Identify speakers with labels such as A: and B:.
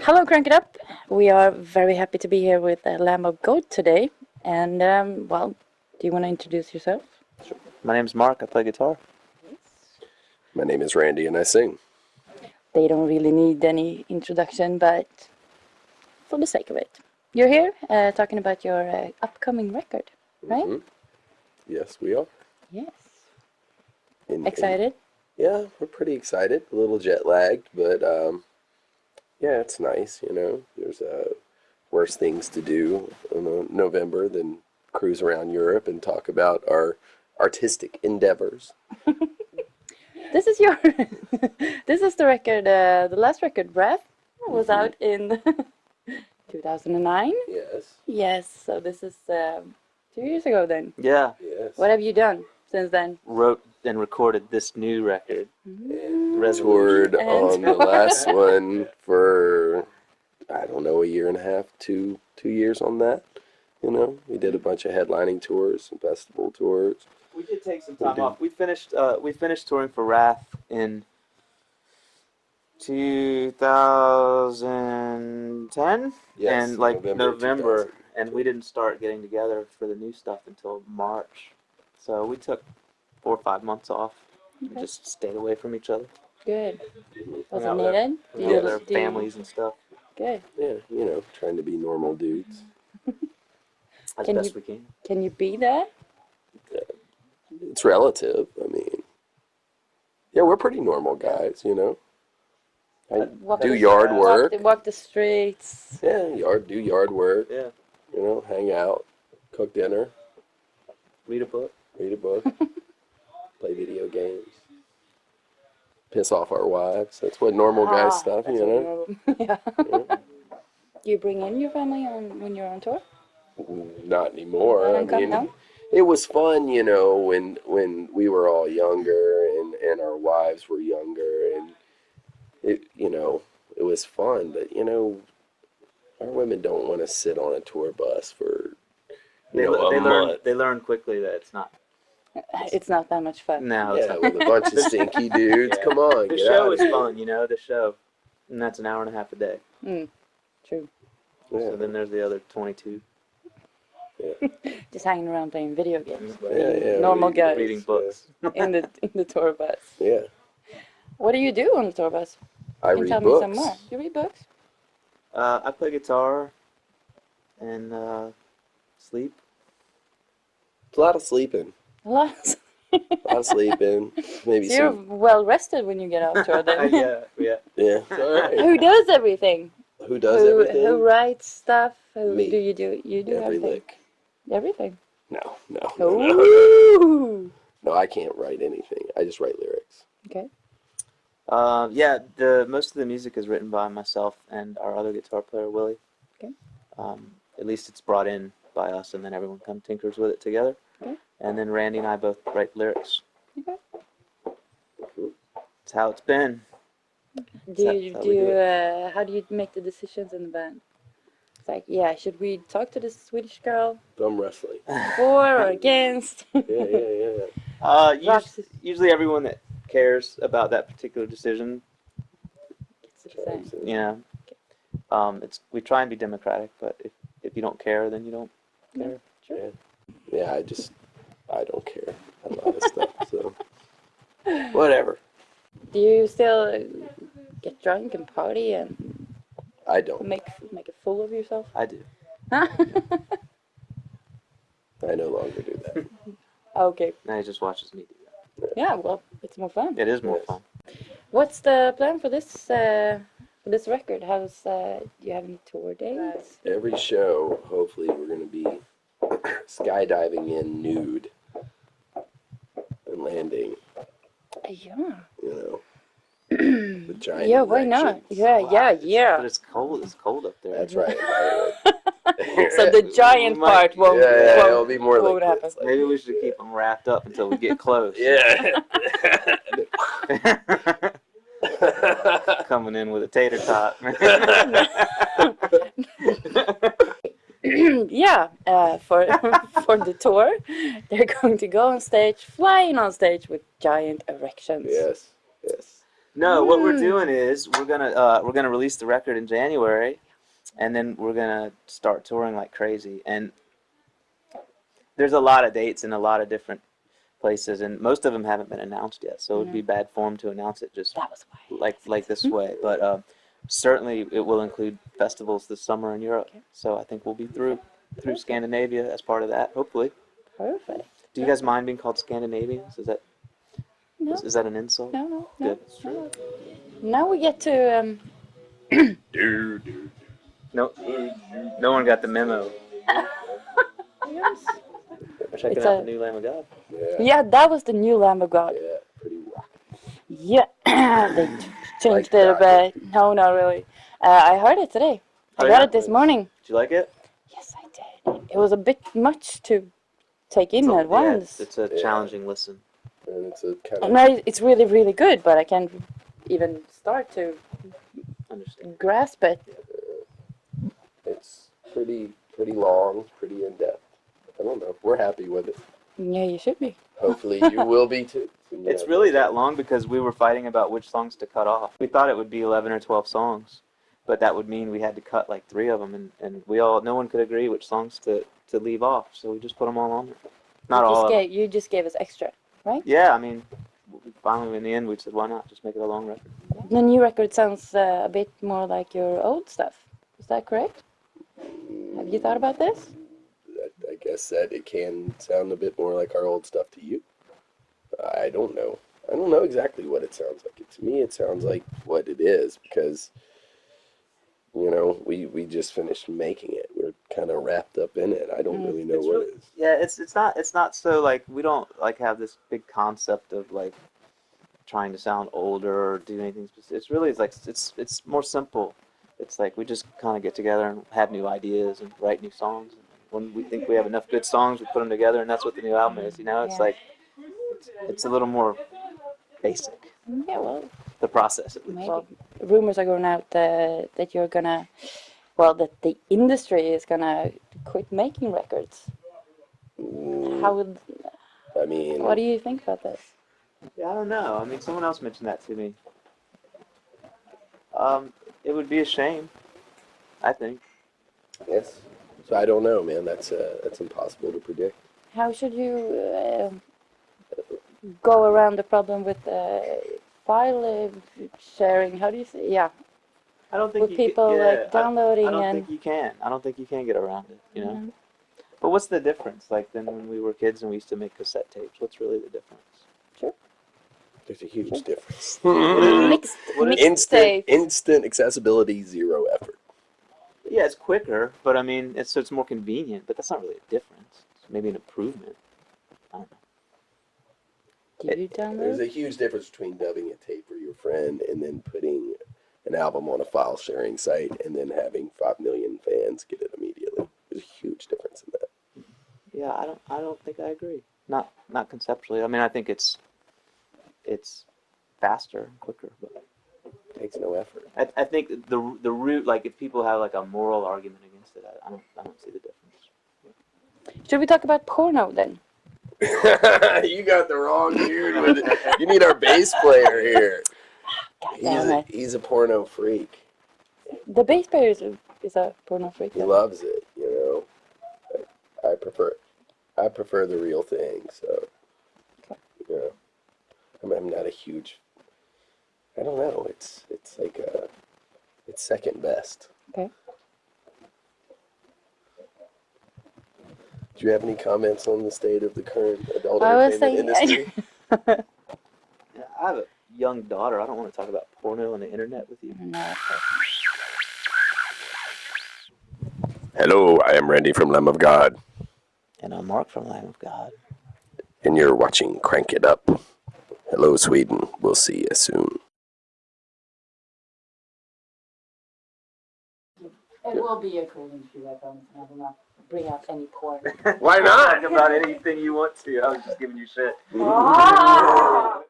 A: Hello, Crank It Up. We are very happy to be here with uh, Lamb of God today. And, um, well, do you want to introduce yourself?
B: My name's Mark. I play guitar.
C: My name is Randy and I sing.
A: They don't really need any introduction, but for the sake of it, you're here uh, talking about your uh, upcoming record, right?
C: Mhm. Yes, we are.
A: Yes.
C: And- and-
A: Excited?
C: yeah, we're pretty excited. A little jet lagged, but um, yeah, it's nice. You know, there's uh, worse things to do in uh, November than cruise around Europe and talk about our artistic endeavors.
A: This is your. this is the record. Uh, the last record, Breath, was
C: Mhm.
A: out in 2009.
C: Yes.
A: Yes. So this is um two years ago then.
B: Yeah,
C: Yes.
A: What have you done since then?
B: wrote and recorded this new record.
C: toured
A: And-
C: on the last one for I don't know a year and a half, two two years on that. You know, we did a bunch of headlining tours and festival tours.
B: We did take some
C: We
B: time
C: did.
B: off. We finished. Uh, we finished touring for Wrath in 2010,
C: Yes,
B: and like November,
C: November 2000.
B: and we didn't start getting together for the new stuff until March. So we took four or five months off. and
A: Okay.
B: Just stayed away from each other.
A: Good. Was
B: Yeah,
A: it
B: they're-
A: needed? Do
B: Yeah,
A: you-
B: their
A: do you-
B: families and stuff
A: Good.
C: Yeah, you know, trying to be normal dudes.
B: as
A: Can
B: best
A: you-
B: we can.
A: Can you be there?
C: It's relative. I mean, yeah, we're pretty normal guys. You know, I
A: Walk
C: do
A: the-
C: yard
B: uh,
A: walk
C: work.
A: the- Walk the streets.
C: Yeah, yard do yard work.
B: Yeah,
C: You know, hang out, cook dinner,
B: read a book.
C: read a book, play video games, piss off our wives. That's what normal guy
A: Ah,
C: stuff,
A: that's
C: you know.
A: what you're- yeah.
C: Yeah.
A: Do you bring in your family on when you're on tour?
C: Not anymore.
A: Let
C: I
A: 'em come
C: mean,
A: down?
C: it was fun, you know, when when we were all younger and and our wives were younger, and it you know it was fun. But you know, our women don't want to sit on a tour bus for
B: They,
C: you know
B: le-
C: a
B: they learn.
C: month.
B: They learn quickly that it's not.
A: It's not that much fun.
B: No, it's
C: Yeah,
B: not.
C: with a bunch of stinky dudes.
B: Yeah.
C: Come on,
B: The
C: get
B: show
C: out
B: is
C: of here.
B: fun, you know, the show. And that's an hour and a half a day.
A: True.
B: So then there's the other 22
A: Just hanging around playing video games
C: Yeah, yeah, yeah.
A: Normal
C: we-
A: guys.
B: reading books.
A: in the in the tour bus.
C: Yeah,
A: What do you do on the tour bus?
C: I
A: You can
C: read
A: tell
C: books.
A: me some more. You read books?
B: Uh, I play guitar and uh, sleep.
C: It's a lot of sleeping.
A: A lot.
C: A lot of sleeping. Maybe
A: So you're
C: some.
A: well rested when you get off tour then.
B: yeah, yeah.
C: Yeah. it's all right.
A: Who does everything?
C: Who does
A: who,
C: everything?
A: who writes stuff? Who
C: Me.
A: do you do? You do
C: Every
A: everything.
C: lick.
A: Everything.
C: No, no, no, no.
A: Oh. Ooh.
C: No, I can't write anything. I just write lyrics.
A: Okay.
B: Um, yeah, the most of the music is written by myself and our other guitar player, Willie.
A: Okay.
B: Um, at least it's brought in by us, and then everyone kind of tinkers with it together.
A: Okay.
B: And then Randy and I both write lyrics.
A: Okay.
C: Mm-hmm.
B: That's how it's been.
A: Do
B: That's
A: you
B: how we
A: do?
B: do it.
A: uh, how do you make the decisions in the band? It's like, yeah, should we talk to this Swedish girl
C: Thumb wrestling.
A: for or against?
C: Yeah, yeah, yeah.
B: Uh,
A: Rock
B: usually, usually everyone that cares about that particular decision,
A: It's the same.
B: you know, um, it's we try and be democratic, but if, if you don't care, then you don't care.
C: Yeah, I just, I don't care a lot of stuff. So, whatever.
A: Do you still uh, get drunk and party and
C: I don't.
A: make make a fool of yourself?
B: I do.
C: I no longer do that.
A: okay.
B: Now he just watches me do
A: Yeah. Well, it's more fun.
B: that. It is more
C: Yes.
B: fun.
A: What's the plan for this uh, for this record? How's uh, do you have any tour dates?
C: Every show, hopefully, we're gonna be skydiving in nude and landing.
A: Yeah.
C: You know, the giant.
A: Yeah, why not?
C: erections.
A: Yeah,
B: Wow,
A: yeah,
B: it's- But
A: yeah.
B: it's cold. It's cold up there.
C: That's right.
A: So the giant
B: We
A: part
B: might-
C: yeah,
A: won't.
C: yeah,
A: won't-
C: it'll be more
A: what
C: like
A: would
C: this, like-
B: Maybe we should keep them wrapped up until we get close.
C: Yeah.
B: Coming in with a tater tot.
A: yeah, uh, for for the tour, they're going to go on stage, flying on stage with giant erections.
C: Yes, yes.
B: No, what we're
A: Mm.
B: doing is we're gonna uh, we're gonna release the record in January, and then we're gonna start touring like crazy. And there's a lot of dates in a lot of different places, and most of them haven't been announced yet. So it would be bad form to announce it just
A: That was why.
B: like like this way. But uh, certainly it will include festivals this summer in Europe.
A: Okay.
B: So I think we'll be through through Scandinavia as part of that, hopefully.
A: Perfect.
B: Do you guys mind being called Scandinavians? Is that
A: No,
B: is, is that an insult?
A: no, no, no.
B: Good.
A: no. Now we get to um,
B: No, no one got the memo. We're checking
A: It's
B: out
A: a-
B: the new Lamb of God.
C: Yeah.
A: yeah, that was the new Lamb of God.
C: Yeah. Pretty rock.
A: Yeah, they t-
C: Like
A: changed it a
C: that.
A: bit. No, not really. Uh, I heard it today. I
B: Oh,
A: got
B: yeah?
A: it this morning.
B: Did you like it?
A: Yes, I did. It was a bit much to take in
B: It's a-
A: at
B: yeah,
A: once.
B: It's a
C: Yeah.
B: challenging listen.
C: And it's a kind of
A: And I, it's really, really good, but I can't even start to
B: Understand.
A: grasp it.
C: it's pretty pretty long, pretty in depth. I don't know. We're happy with it.
A: Yeah, you should be.
C: Hopefully you will be too. You
B: It's
C: know.
B: really that long because we were fighting about which songs to cut off. We thought it would be 11 or 12 songs, but that would mean we had to cut like three of them, and, and we all no one could agree which songs to, to leave off, so we just put them all on there. Not
A: you
B: all.
A: Just
B: Of them.
A: gave, you just gave us extra.
B: Yeah, I mean, we- finally in the end we said why not just make it a long record.
A: The new record sounds uh, a bit more like your old stuff. Is that correct? Have you thought about this?
C: Mm, I- I guess that it can sound a bit more like our old stuff to you. I don't know. I don't know exactly what it sounds like. To me, it sounds like what it is because, you know, we we just finished making it. We're kind of wrapped up in it. I don't
A: Mm.
C: really know
B: It's
C: what
B: really-
C: it is.
B: Yeah, it's it's not it's not so like we don't like have this big concept of like trying to sound older or do anything specific. It's really it's like it's it's more simple. It's like we just kind of get together and have new ideas and write new songs. When we think we have enough good songs, we put them together, and that's what the new album is. You know, it's
A: Yeah.
B: like it's, it's a little more basic.
A: Yeah, well,
B: The process, at least.
A: maybe. rumors are going out uh, that you're gonna, well, that the industry is gonna quit making records.
C: Mm,
A: How would,
C: I mean,
A: what do you think about this?
B: Yeah, I don't know. I mean, someone else mentioned that to me. Um, it would be a shame. I think.
C: yes. So I don't know, man. That's uh, that's impossible to predict.
A: How should you uh, go around the problem with uh, file uh, sharing? How do you say? Yeah,
B: I don't think
A: with
B: you could-
A: people
B: yeah,
A: like
B: I-
A: downloading
B: I don't
A: and
B: think you can. I don't think you can get around it. You
A: Mm-hmm.
B: know. But what's the difference? Like then, when we were kids and we used to make cassette tapes, what's really the difference?
C: There's a
A: Mm-hmm.
C: huge difference.
A: mixed,
B: What is-
A: mixed
C: instant,
A: tapes.
C: instant accessibility, zero effort.
B: Yeah, it's quicker, but I mean, it's so it's more convenient. But that's not really a difference. It's maybe an improvement.
A: Did you
C: There's
A: download?
C: a huge difference between dubbing a tape for your friend and then putting an album on a file sharing site and then having 5 million fans get it immediately. There's a huge difference in that.
B: Yeah, I don't. I don't think I agree. Not not conceptually. I mean, I think it's it's faster, and quicker, but.
C: It takes no effort.
B: I, I think the the root, like if people have like a moral argument against it, I, I don't I don't see the difference.
A: Should we talk about porno then?
C: you got the wrong dude with it. You need our bass player here.
A: God
C: He's
A: damn
C: a,
A: it!
C: he's a porno freak.
A: The bass player is a, is a porno freak.
C: He loves it, you know. I, I prefer I prefer the real thing, so you know. I'm, I'm not a huge I don't know, it's it's like uh it's second best.
A: Okay.
C: Do you have any comments on the state of the current adult
A: I was
C: entertainment
A: thinking-
C: industry?
B: Yeah, I have a young daughter. I don't want to talk about porno on the internet with you.
A: No.
C: Hello, I am Randy from Lamb of God,
B: And I'm Mark from Lamb of God.
C: and you're watching Crank It Up. Hello, Sweden. We'll see you soon.
A: It will be a cool interview, I promise. and I will not bring up any porn.
C: Why
B: about anything you want to. I was just giving you shit.
A: Ah!